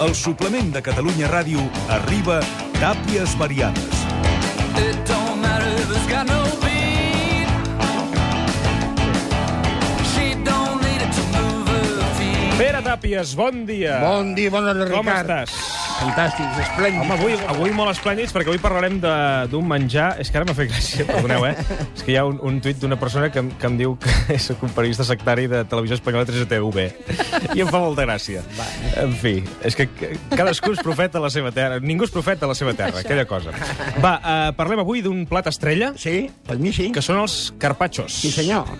El suplement de Catalunya Ràdio arriba d'àpies variades. It don't matter if it's got no beat. She don't need it to move her feet. Pere Tàpies, bon dia. Bon dia, bona hora, Com Ricard. estàs? Fantàstics, esplèndids. Home, avui, avui molt esplèndids, perquè avui parlarem de- d'un menjar... És que ara m'ha fet gràcia, perdoneu, eh? És que hi ha un, un tuit d'una persona que, em- que em diu que soc un periodista sectari de Televisió Espanyola 3TV. I em fa molta gràcia. Va. En fi, és que cadascú és profeta a la seva terra. Ningú és profeta a la seva terra, aquella cosa. Va, eh, parlem avui d'un plat estrella, Sí, per mi sí. que són els carpachos. Sí, senyor.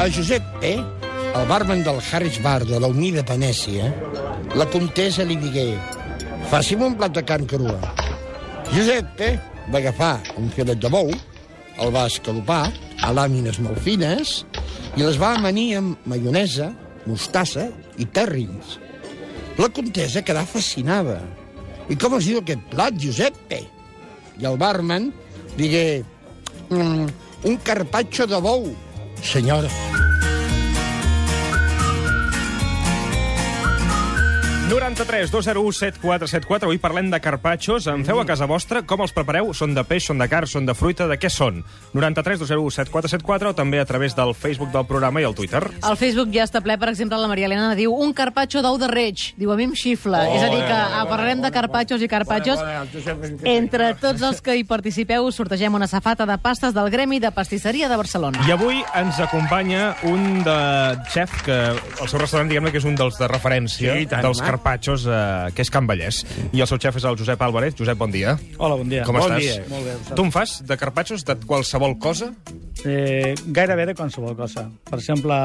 A Josep P., el barman del Harris Bar de la Unida Venècia, la comtessa li digué «Faci'm un plat de carn crua». Josep P. va agafar un filet de bou, el va escalopar a làmines molt fines i les va amanir amb maionesa, mostassa i tèrrins. La comtessa quedà fascinada. I com es diu aquest plat, Giuseppe? I el barman digué... Mm, un carpatxo de bou. Senyora. Sí, 93 201 7474. Avui parlem de carpatxos. En feu a casa vostra? Com els prepareu? Són de peix, són de carn, són de fruita? De què són? 93 201 7474 o també a través del Facebook del programa i el Twitter. El Facebook ja està ple, per exemple, la Maria Elena diu un carpatxo d'ou de reig. Diu, a mi em xifla. Oh, és a dir, que ah, parlarem de carpatxos i carpatxos. Entre tots els que hi participeu, sortegem una safata de pastes del Gremi de Pastisseria de Barcelona. I avui ens acompanya un de xef que el seu restaurant, diguem-ne, que és un dels de referència Sí, i tant, dels home. carpatxos, eh, que és Can Vallès. I el seu xef és el Josep Álvarez. Josep, bon dia. Hola, bon dia. Com bon estàs? Dia. Molt bé. Tu en fas de carpatxos de qualsevol cosa? Eh, gairebé de qualsevol cosa. Per exemple,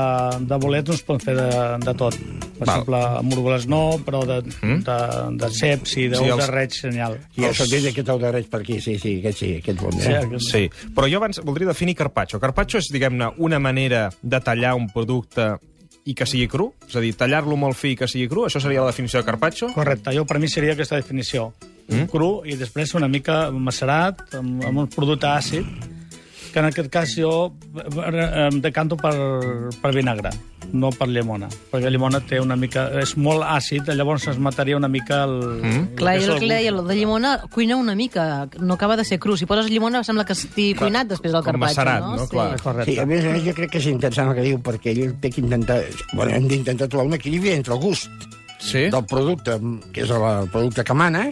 de bolets no es pot fer de, de tot. Per Val. Mm-hmm. exemple, morbolets no, però de, mm? de, de ceps i d'ous Sí, sí, els- de reig, senyal. ja s'ha dit aquest au de reig per aquí, sí, sí, aquest sí, aquest bon eh? Sí, dia. aquest- Sí, però jo abans voldria definir carpaccio. Carpaccio és, diguem-ne, una manera de tallar un producte i que sigui cru? És a dir, tallar-lo molt fi i que sigui cru? Això seria la definició de carpaccio? Correcte, jo per mi seria aquesta definició. Mm-hmm. Mm? Cru i després una mica macerat, amb, amb un producte àcid, que en aquest cas jo eh, em decanto per, per vinagre, no per llimona, perquè llimona té una mica... És molt àcid, llavors es mataria una mica el... Mm-hmm. Mm? Clar, jo el que deia, el de llimona cuina una mica, no acaba de ser cru. Si poses llimona sembla que estigui cuinat després del Com carpatxo, macerat, no? no? Clar. Sí, a més a més, jo crec que és interessant el que diu, perquè ell té que intentar... Bueno, hem d'intentar trobar un equilibri entre el gust Sí? del producte, que és el producte que mana,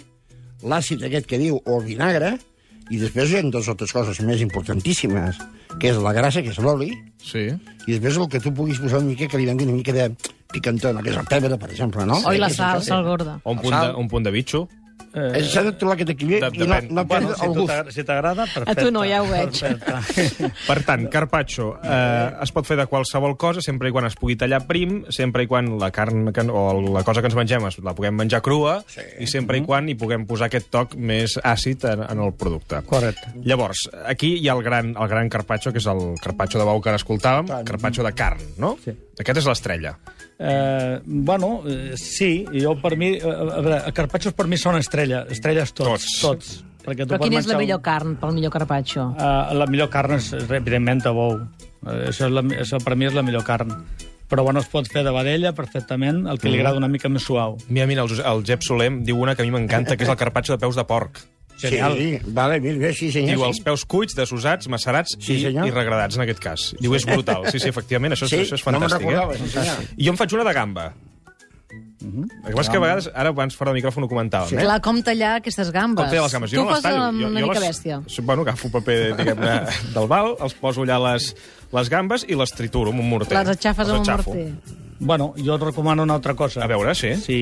l'àcid aquest que diu, o el vinagre, i després hi ha dues altres coses més importantíssimes, que és la grassa, que és l'oli, Sí. i després el que tu puguis posar una mica que li doni una mica de picantona, que és el pebre, per exemple, no? Oi, la Que és sal, això. sal gorda. O un El punt de, sal. un punt de bitxo? Eh, Eh, S'ha de trobar aquest equilibri de- i no, depèn. no Bueno, perdre si el tu gust. t'agra- si t'agrada, perfecte. tu no, ja ho veig. Perfecte. Per tant, carpaccio eh, es pot fer de qualsevol cosa, sempre i quan es pugui tallar prim, sempre i quan la carn que, o la cosa que ens mengem es- la puguem menjar crua, sí. i sempre Mm-hmm. i quan hi puguem posar aquest toc més àcid en, en el producte. Correcte. Llavors, aquí hi ha el gran, el gran carpaccio, que és el carpaccio de bou que ara escoltàvem, Tant. carpaccio de carn, no? Sí. Aquest és l'estrella. Eh, bueno, eh, sí, jo per mi... eh, A veure, carpatxos per mi són estrella, estrelles tots. Tots. tots perquè tu Però pots quina és la menjar un- millor carn pel millor carpatxo? Eh, la millor carn és, és, evidentment, de bou. Eh, Això, és la, això per mi és la millor carn. Però bueno, es pot fer de vedella perfectament, el que li agrada una mica més suau. Mira, mira, el, Josep- el Jep Solem diu una que a mi m'encanta, que és el carpaccio de peus de porc. Sí, sí, vale, mira, bé, sí, senyor. Diu els peus cuits, desosats, macerats Sí, i, senyor. i regradats, en aquest cas. Diu, és brutal. Sí, sí, efectivament, això, és- Sí, això és no me'n fantàstic. recordava, sí, eh? senyor. Mhm. I jo em faig una de gamba. El que passa és que a vegades, ara abans fora de micròfon ho comentàvem, eh? Clar, com tallar aquestes gambes? El paper de les gambes. Tu Jo no les fas tallo. amb jo, una jo mica les, bèstia. Sí, Bueno, agafo paper, diguem-ne, del bal, els poso allà les, les gambes i les trituro amb un morter. Les aixafes Els amb un aixafo. morter. Bueno, jo et recomano una altra cosa. A veure, sí. Sí,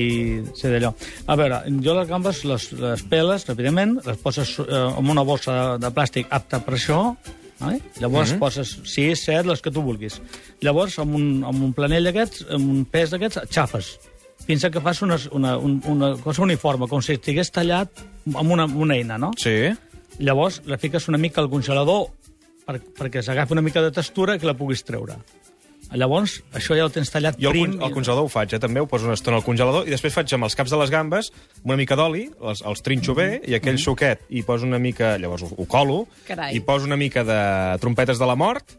sí d'allò. A veure, jo les gambes les, les peles, evidentment, les poses eh, en una bolsa de plàstic apta per això, eh? Mhm. llavors mm -hmm. poses 6, 7, les que tu vulguis. Llavors, amb un, amb un planell d'aquests, amb un pes d'aquests, xafes. Fins a que fas una, una, un- una cosa uniforme, com si estigués tallat amb una, una eina, no? Sí. Llavors, la fiques una mica al congelador per, perquè s'agafi una mica de textura i que la puguis treure. Llavors, això ja ho tens tallat Jo el, prim. con- el congelador ho faig, eh? també ho poso una estona al congelador i després faig amb els caps de les gambes una mica d'oli, els, els trinxo bé Mm-hmm. i aquell suquet hi poso una mica, llavors ho, ho colo, Carai. hi poso una mica de trompetes de la mort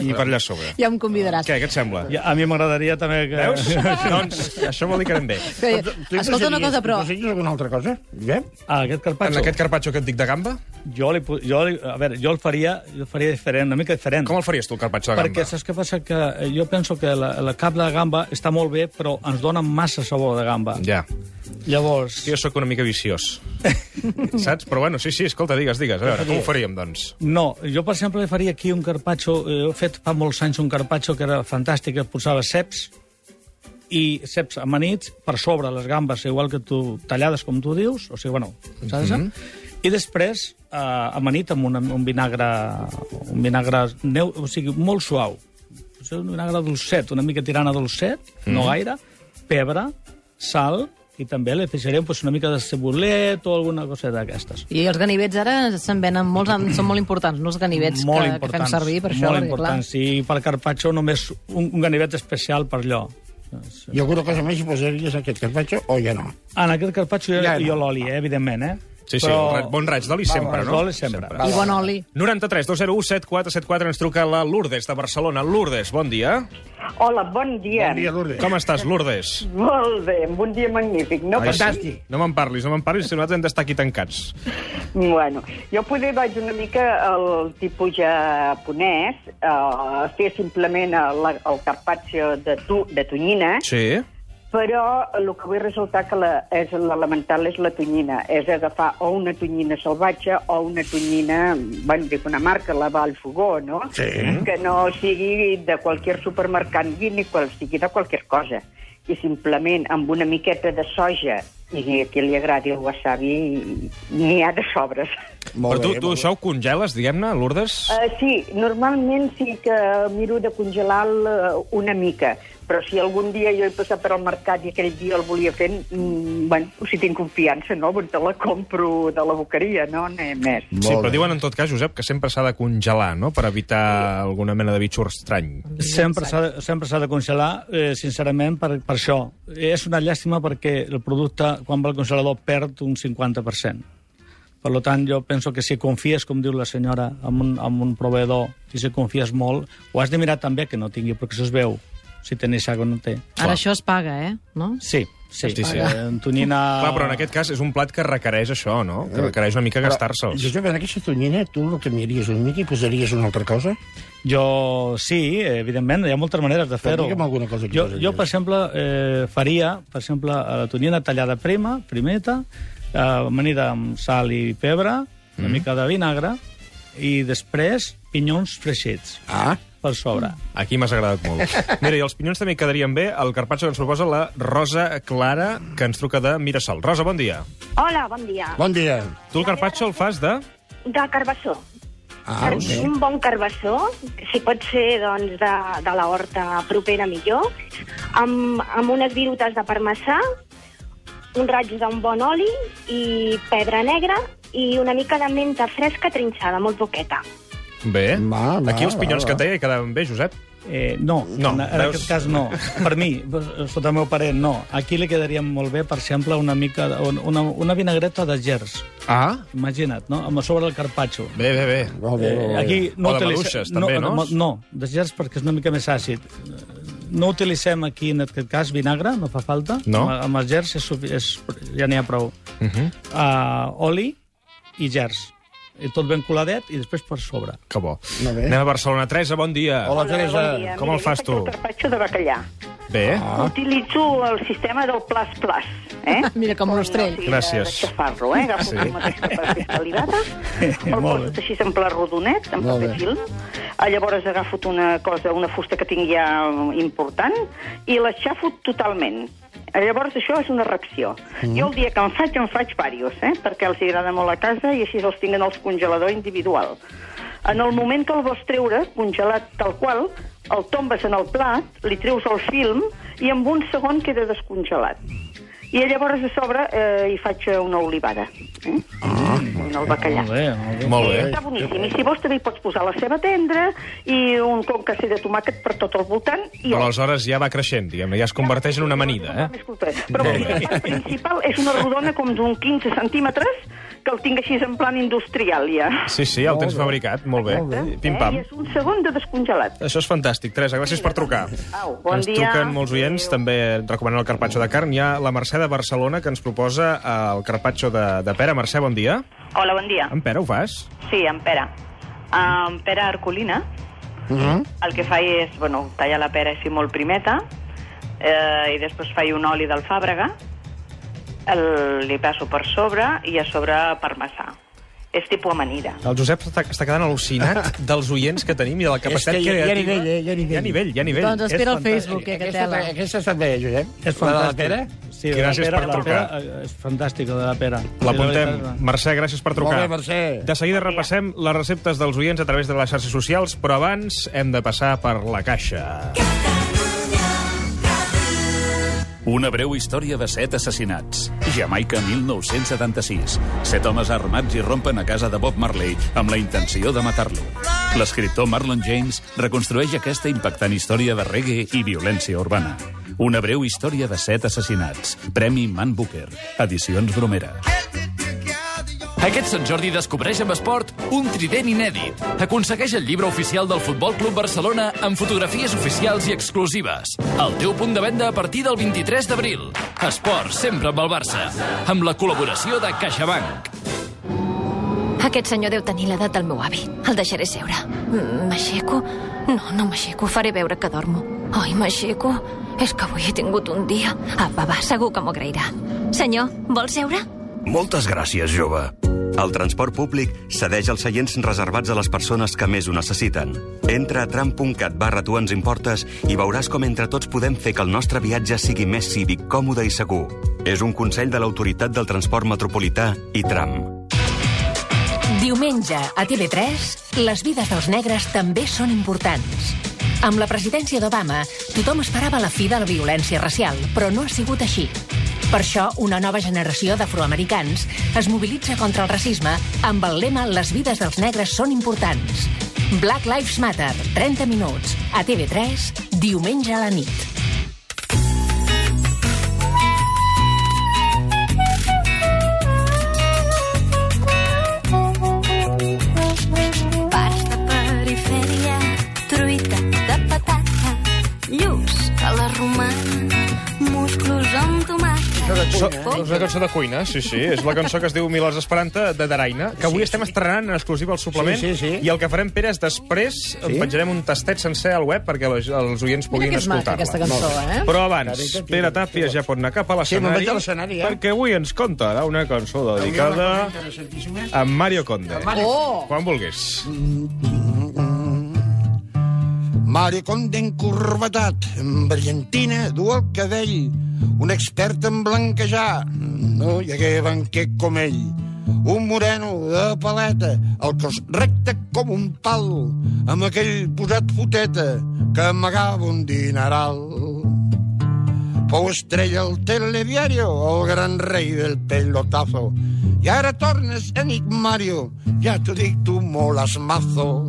i per allà a sobre. Ja em convidaràs. Què, què et sembla? I a mi m'agradaria també que... Veus? doncs això vol dir que anem bé. Bé, escolta una cosa, però... eh, Tu alguna altra cosa, Josep? Ah, En aquest carpaccio, aquest carpaccio que et dic de gamba, jo, li, po- jo, li, a veure, jo el faria, jo el faria diferent, una mica diferent. com el faries tu, el carpaccio de gamba? Perquè saps què passa? Que eh, jo penso que la, la cable de gamba està molt bé, però ens dona massa sabor de gamba. Ja. Llavors, Jo sóc una mica viciós. Saps? Però bueno, sí, sí, escolta, digues, digues. A veure, com ho faríem, doncs? no, jo per exemple faria aquí un carpaccio, eh, he fet fa molts anys un carpaccio que era fantàstic, que posava ceps, i ceps amanits per sobre les gambes, igual que tu tallades, com tu dius, o sigui, bueno, saps? Mm I després eh, amanit amb una, un vinagre, un vinagre neu, o sigui, molt suau. O sigui, un vinagre dolcet, una mica tirant a dolcet, mm. no gaire, pebre, sal, i també li afegirem pues, una mica de cebolet o alguna cosa d'aquestes. I els ganivets ara se'n venen molts, en- són molt importants, no els ganivets que, molt que fem importants, servir per això. Molt perquè, importants. I per carpaccio només un, un ganivet especial per allò. I alguna cosa més hi posaries a aquest carpaccio o ja no? Ah, En aquest carpaccio jo, Ja, no. jo l'oli, eh, evidentment, eh? Sí, sí, el ra- bon raig d'oli sempre, raig no? d'oli sempre. clar. I bon oli. 93 201 7474 ens truca la Lourdes de Barcelona. Lourdes, bon dia. Hola, bon dia. Bon dia, Lourdes. Com estàs, Lourdes? Molt bé, amb un dia magnífic. No? Ai, Fantàstic. No me'n parlis, no me'n parlis, si nosaltres hem d'estar aquí tancats. Bueno, jo poder vaig una mica al tipus japonès, eh, fer simplement el, el carpaccio de, tu, de tonyina, Sí. però el que vull ressaltar que la, és l'elemental és la tonyina. És agafar o una tonyina salvatge o una tonyina, bueno, dic una marca, la va al fogó, no? Sí. Que no sigui de qualsevol supermercat ni qual, sigui de qualsevol cosa. I simplement amb una miqueta de soja i a qui li agradi el wasabi n'hi ha de sobres. Però tu, tu això ho congeles, diguem-ne, Lourdes? Uh, sí, normalment sí que miro de congelar uh, una mica, però si algun dia jo he passat per al mercat i aquell dia el volia fer, mm, bueno, si tinc confiança, no? Doncs te la compro de la boqueria, no? Anem més. Sí, però diuen en tot cas, Josep, que sempre s'ha de congelar, no?, per evitar alguna mena de bitxo estrany. Sempre s'ha de- sempre s'ha de congelar, eh, sincerament, per, per això. És una llàstima perquè el producte, quan va al congelador, perd un 50%. Per lo tant, jo penso que si confies, com diu la senyora, en un, en un proveedor, si se confies molt, ho has de mirar també que no tingui, perquè això es veu, si té nissac o no té. Clar. Ara això es paga, eh? No? Sí, sí. Sí, sí. Eh, Antonina... Clar, però en aquest cas és un plat que requereix això, no?, que requereix una mica gastar-se'ls. Josep, en aquesta tonyina, tu el canviaries una mica i posaries una altra cosa? Jo sí, eh, evidentment, hi ha moltes maneres de fer-ho. digue'm alguna cosa que Jo, posaries. jo, per exemple, eh, faria, per exemple, la tonyina tallada prima, primeta, eh, amanida amb sal i pebre, una Mm. mica de vinagre, i després pinyons fregits Ah, per sobre. Aquí m'has agradat molt. Mira, i els pinyons també quedarien bé el carpaccio que ens proposa la Rosa Clara, que ens truca de Mirasol. Rosa, bon dia. Hola, bon dia. bon dia. Tu el carpaccio el fas de... De Carbassó. Ah, bé. Un bon carbassó, si pot ser doncs, de, de la horta propera millor, amb, amb unes virutes de parmesà, un raig d'un bon oli i pebre negra i una mica de menta fresca trinxada, molt poqueta. Bé. Va, va, Aquí els pinyons va, que va. et deia quedaven bé, Josep. Eh, no, No, en, en veus? aquest cas no. Per mi, sota el meu parer, no. Aquí li quedaria molt bé, per exemple, una mica de- una, una vinagreta de gers. Ah. Imagina't, no? Amb a sobre el carpaccio. Bé, bé, bé. Molt bé, molt Eh, bé. aquí no O de utilitzem- maduixes, també, no? No, no de gerds perquè és una mica més àcid. No utilitzem aquí, en aquest cas, vinagre, no fa falta. No. Mhm. Amb, amb els gerds és, sufi- és, ja n'hi ha prou. Uh -huh. uh, oli i gerds. I tot ben coladet i després per sobre. Que bo. Molt bé. Anem a Barcelona. Teresa, bon dia. Hola, Teresa. Bon dia. Com Mira, el jo fas faig tu? El carpaccio de bacallà. Bé. Ah. Utilitzo el sistema del plas-plas, eh? Mira, com l'ostrell. Gràcies. D'aixafar-lo, eh? Agafo Sí. sí. el mateix que per fiscalidada, el Molt poso bé. així en pla rodonet, amb Molt paper bé. film, Ah, llavors agafo una cosa, una fusta que tinc ja mm, important, i l'aixafo totalment. Ah, Llavors, això és una reacció. Mm. Jo el dia que en faig, en faig diversos, eh? perquè els agrada molt a casa i així els tinguen els congelador individual. En el moment que el vols treure, congelat tal qual, el tombes en el plat, li treus el film i en un segon queda descongelat. I llavors a sobre eh, hi faig una olivada. Eh? Mm. El bacallà. Molt bé, molt bé. Molt Eh, Està bé. boníssim. I si vols també hi pots posar la ceba tendra i un concassí de tomàquet per tot el voltant. I Però aleshores ja va creixent, diguem-ne, ja es converteix en una amanida, eh? Més cultura. Però vull dir que la part principal és una rodona com d'un 15 centímetres que el tinc així en plan industrial ja. Sí, sí, el tens fabricat, molt bé. Eh? Pim-pam. I és un segon de descongelat. Això és fantàstic. Teresa, gràcies per trucar. Au, bon ens dia. truquen molts oients, també recomanant el carpaccio de carn. Hi ha la Mercè de Barcelona que ens proposa eh, el carpaccio de, de pera. Mercè, bon dia. Hola, bon dia. En pera ho fas? Sí, en Pere. En Pere Arcolina, Mm -hmm. el que faig és, bueno, tallar la pera així molt primeta, eh, i després faig un oli d'alfàbrega, el, li passo per sobre i a sobre parmesà. És tipus amanida. El Josep està, està quedant al·lucinat dels oients que tenim i de la capacitat que hi ha- hi ha creativa. nivell, eh? Hi ha nivell. Hi ha nivell, hi ha nivell. Doncs espera al fantàstic. Facebook, eh, que Aquesta, tela. aquesta està bé, Josep. La de la És fantàstic. pera? Sí, la Gràcies pera, per la trucar. Pera, eh, és fantàstica, de la pera. L'apuntem. Sí, la veritat, Mercè, gràcies per trucar. Molt bé, Mercè. De seguida repassem les receptes dels oients a través de les xarxes socials, però abans hem de passar per la caixa. Una breu història de set assassinats. Jamaica, 1976. Set homes armats hi rompen a casa de Bob Marley amb la intenció de matar-lo. L'escriptor Marlon James reconstrueix aquesta impactant història de reggae i violència urbana. Una breu història de set assassinats. Premi Man Booker. Edicions Bromera. Aquest Sant Jordi descobreix amb esport un trident inèdit. Aconsegueix el llibre oficial del Futbol Club Barcelona amb fotografies oficials i exclusives. El teu punt de venda a partir del 23 d'abril. Esport sempre amb el Barça. Amb la col·laboració de CaixaBank. Aquest senyor deu tenir l'edat del meu avi. El deixaré seure. Mm, M'aixeco? No, no m'aixeco. Faré veure que dormo. Ai, m'aixeco. És que avui he tingut un dia. Apa, va, segur que m'ho agrairà. Senyor, vol seure? Moltes gràcies, jove. El transport públic cedeix els seients reservats a les persones que més ho necessiten. Entra a tram.cat barra tu ens importes i veuràs com entre tots podem fer que el nostre viatge sigui més cívic, còmode i segur. És un consell de l'autoritat del transport metropolità i tram. Diumenge, a TV3, les vides dels negres també són importants. Amb la presidència d'Obama, tothom esperava la fi de la violència racial, però no ha sigut així. Per això, una nova generació d'afroamericans es mobilitza contra el racisme amb el lema Les vides dels negres són importants. Black Lives Matter, 30 minuts, a TV3, diumenge a la nit. Parts de perifèria, truita de patata, lluç a la romana, musclos amb tomàquet. So, és una cançó de cuina, sí, sí. És la cançó que es diu Milers Esperanta, de Daraina, que avui sí, estem estrenant en exclusiva al suplement. Sí, sí, sí. I el que farem, Pere, és després sí? penjarem un tastet sencer al web perquè les, els oients puguin que és maca, escoltar-la. aquesta cançó, eh? Però abans, Carita, tira, Pere Tàpies ja pot anar cap a Sí, me'n l'escenari vaig a l'escenari, ja. perquè avui ens contarà una cançó dedicada a Mario Conde. Oh! Quan vulguis. Mare Conde encorbatat, brillantina, du el cabell, un expert en blanquejar, no hi hagué banquer com ell. Un moreno de paleta, el cos recte com un pal, amb aquell posat foteta que amagava un dineral. Fou estrella al telediario, el gran rei del pelotazo. I ara tornes enigmario, ja t'ho dic, tu moles mazo.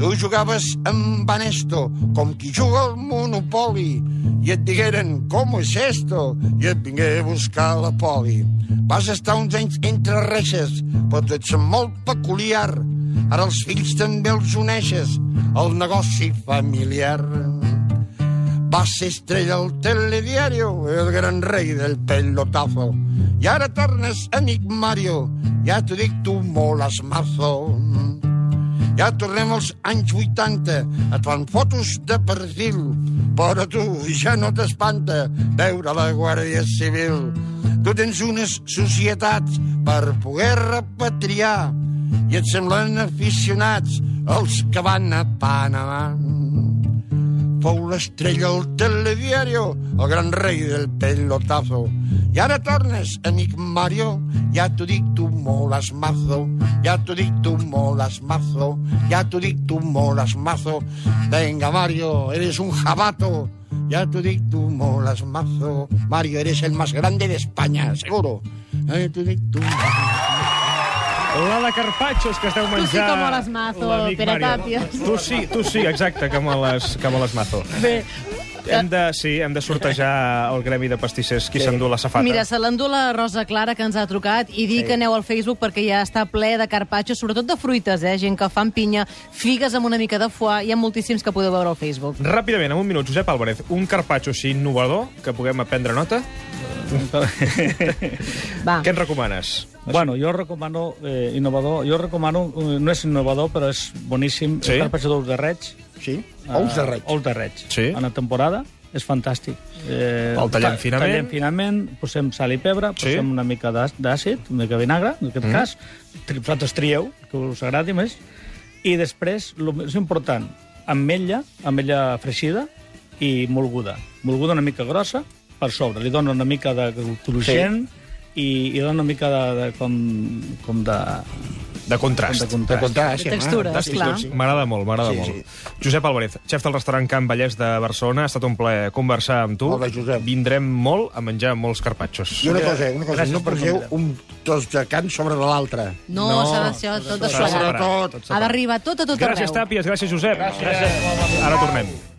Tu jugaves amb Banesto, com qui juga al Monopoli, i et digueren com és esto, i et vingué a buscar la poli. Vas estar uns anys entre reixes, però tu ets molt peculiar. Ara els fills també els uneixes al negoci familiar. Vas ser estrella al telediario, el gran rei del pelotazo. I ara tornes amic Mario, ja t'ho dic, tu moles mazo. Ja tornem als anys 80, et fan fotos de perfil, però tu ja no t'espanta veure la Guàrdia Civil. Tu tens unes societats per poder repatriar i et semblen aficionats els que van a Panamà. Fou l'estrella al telediario, el gran rei del pelotazo. I ara tornes, amic Mario, ja t'ho dic, tu moles mazo. Ja t'ho dic, tu moles mazo. Ja t'ho dic, tu moles mazo. Venga, Mario, eres un jabato. Ya tú di, tú molas mazo. Mario, eres el más grande de España, seguro. Eh, tú di, tú La de carpatxos que esteu Tu sí menjant. que moles mazo, l'amic Pere Mario. Tàpies. Tu sí, tu sí, exacte, que moles, que moles mazo. Bé, Hem de, sí, hem de sortejar el gremi de pastissers qui s'endú la safata. Mira, se l'endú la Rosa Clara, que ens ha trucat, i dir sí. que aneu al Facebook perquè ja està ple de carpatxos, sobretot de fruites, eh? gent que fan pinya, figues amb una mica de foie, hi ha moltíssims que podeu veure al Facebook. Ràpidament, en un minut, Josep Álvarez, un carpatxo així innovador que puguem aprendre nota. Va, Què ens recomanes? Bueno, jo recomano eh, innovador, jo recomano, eh, no és innovador, però és boníssim, Sí? sí? el carpaccio d'ous de reig. Sí? Ah, Ous de reig. Ah, Ous de reig. Sí. En la temporada és fantàstic. Eh, El tallem ta- finament. Tallem finament, posem sal i pebre, Sí. posem una mica d'à- d'àcid, una mica de vinagre, en aquest mm. cas. Tri- Vosaltres trieu, que us agradi més. I després, el més important, ametlla, ametlla fregida i molguda. Molguda una mica grossa per sobre. Li dona una mica de cruixent sí. i, i dona una mica de, de com, com de... De Com de contrast. De contrast. contar, De textura, esclar. M'agrada molt, m'agrada Sí, molt. sí. Josep Álvarez, xef del restaurant Can Vallès de Barcelona, ha estat un plaer conversar amb tu. Hola, Josep. Vindrem molt a menjar molts carpatxos. I una cosa, una cosa, Gràcies no per poseu convidar. un tos de can sobre de l'altre. No, No, s'ha de ser tot de S'ha de soledat. separar, tot Ha separat. d'arribar tot a tot Gràcies, arreu. Tàpies, gràcies, Josep. Gràcies. Ara tornem.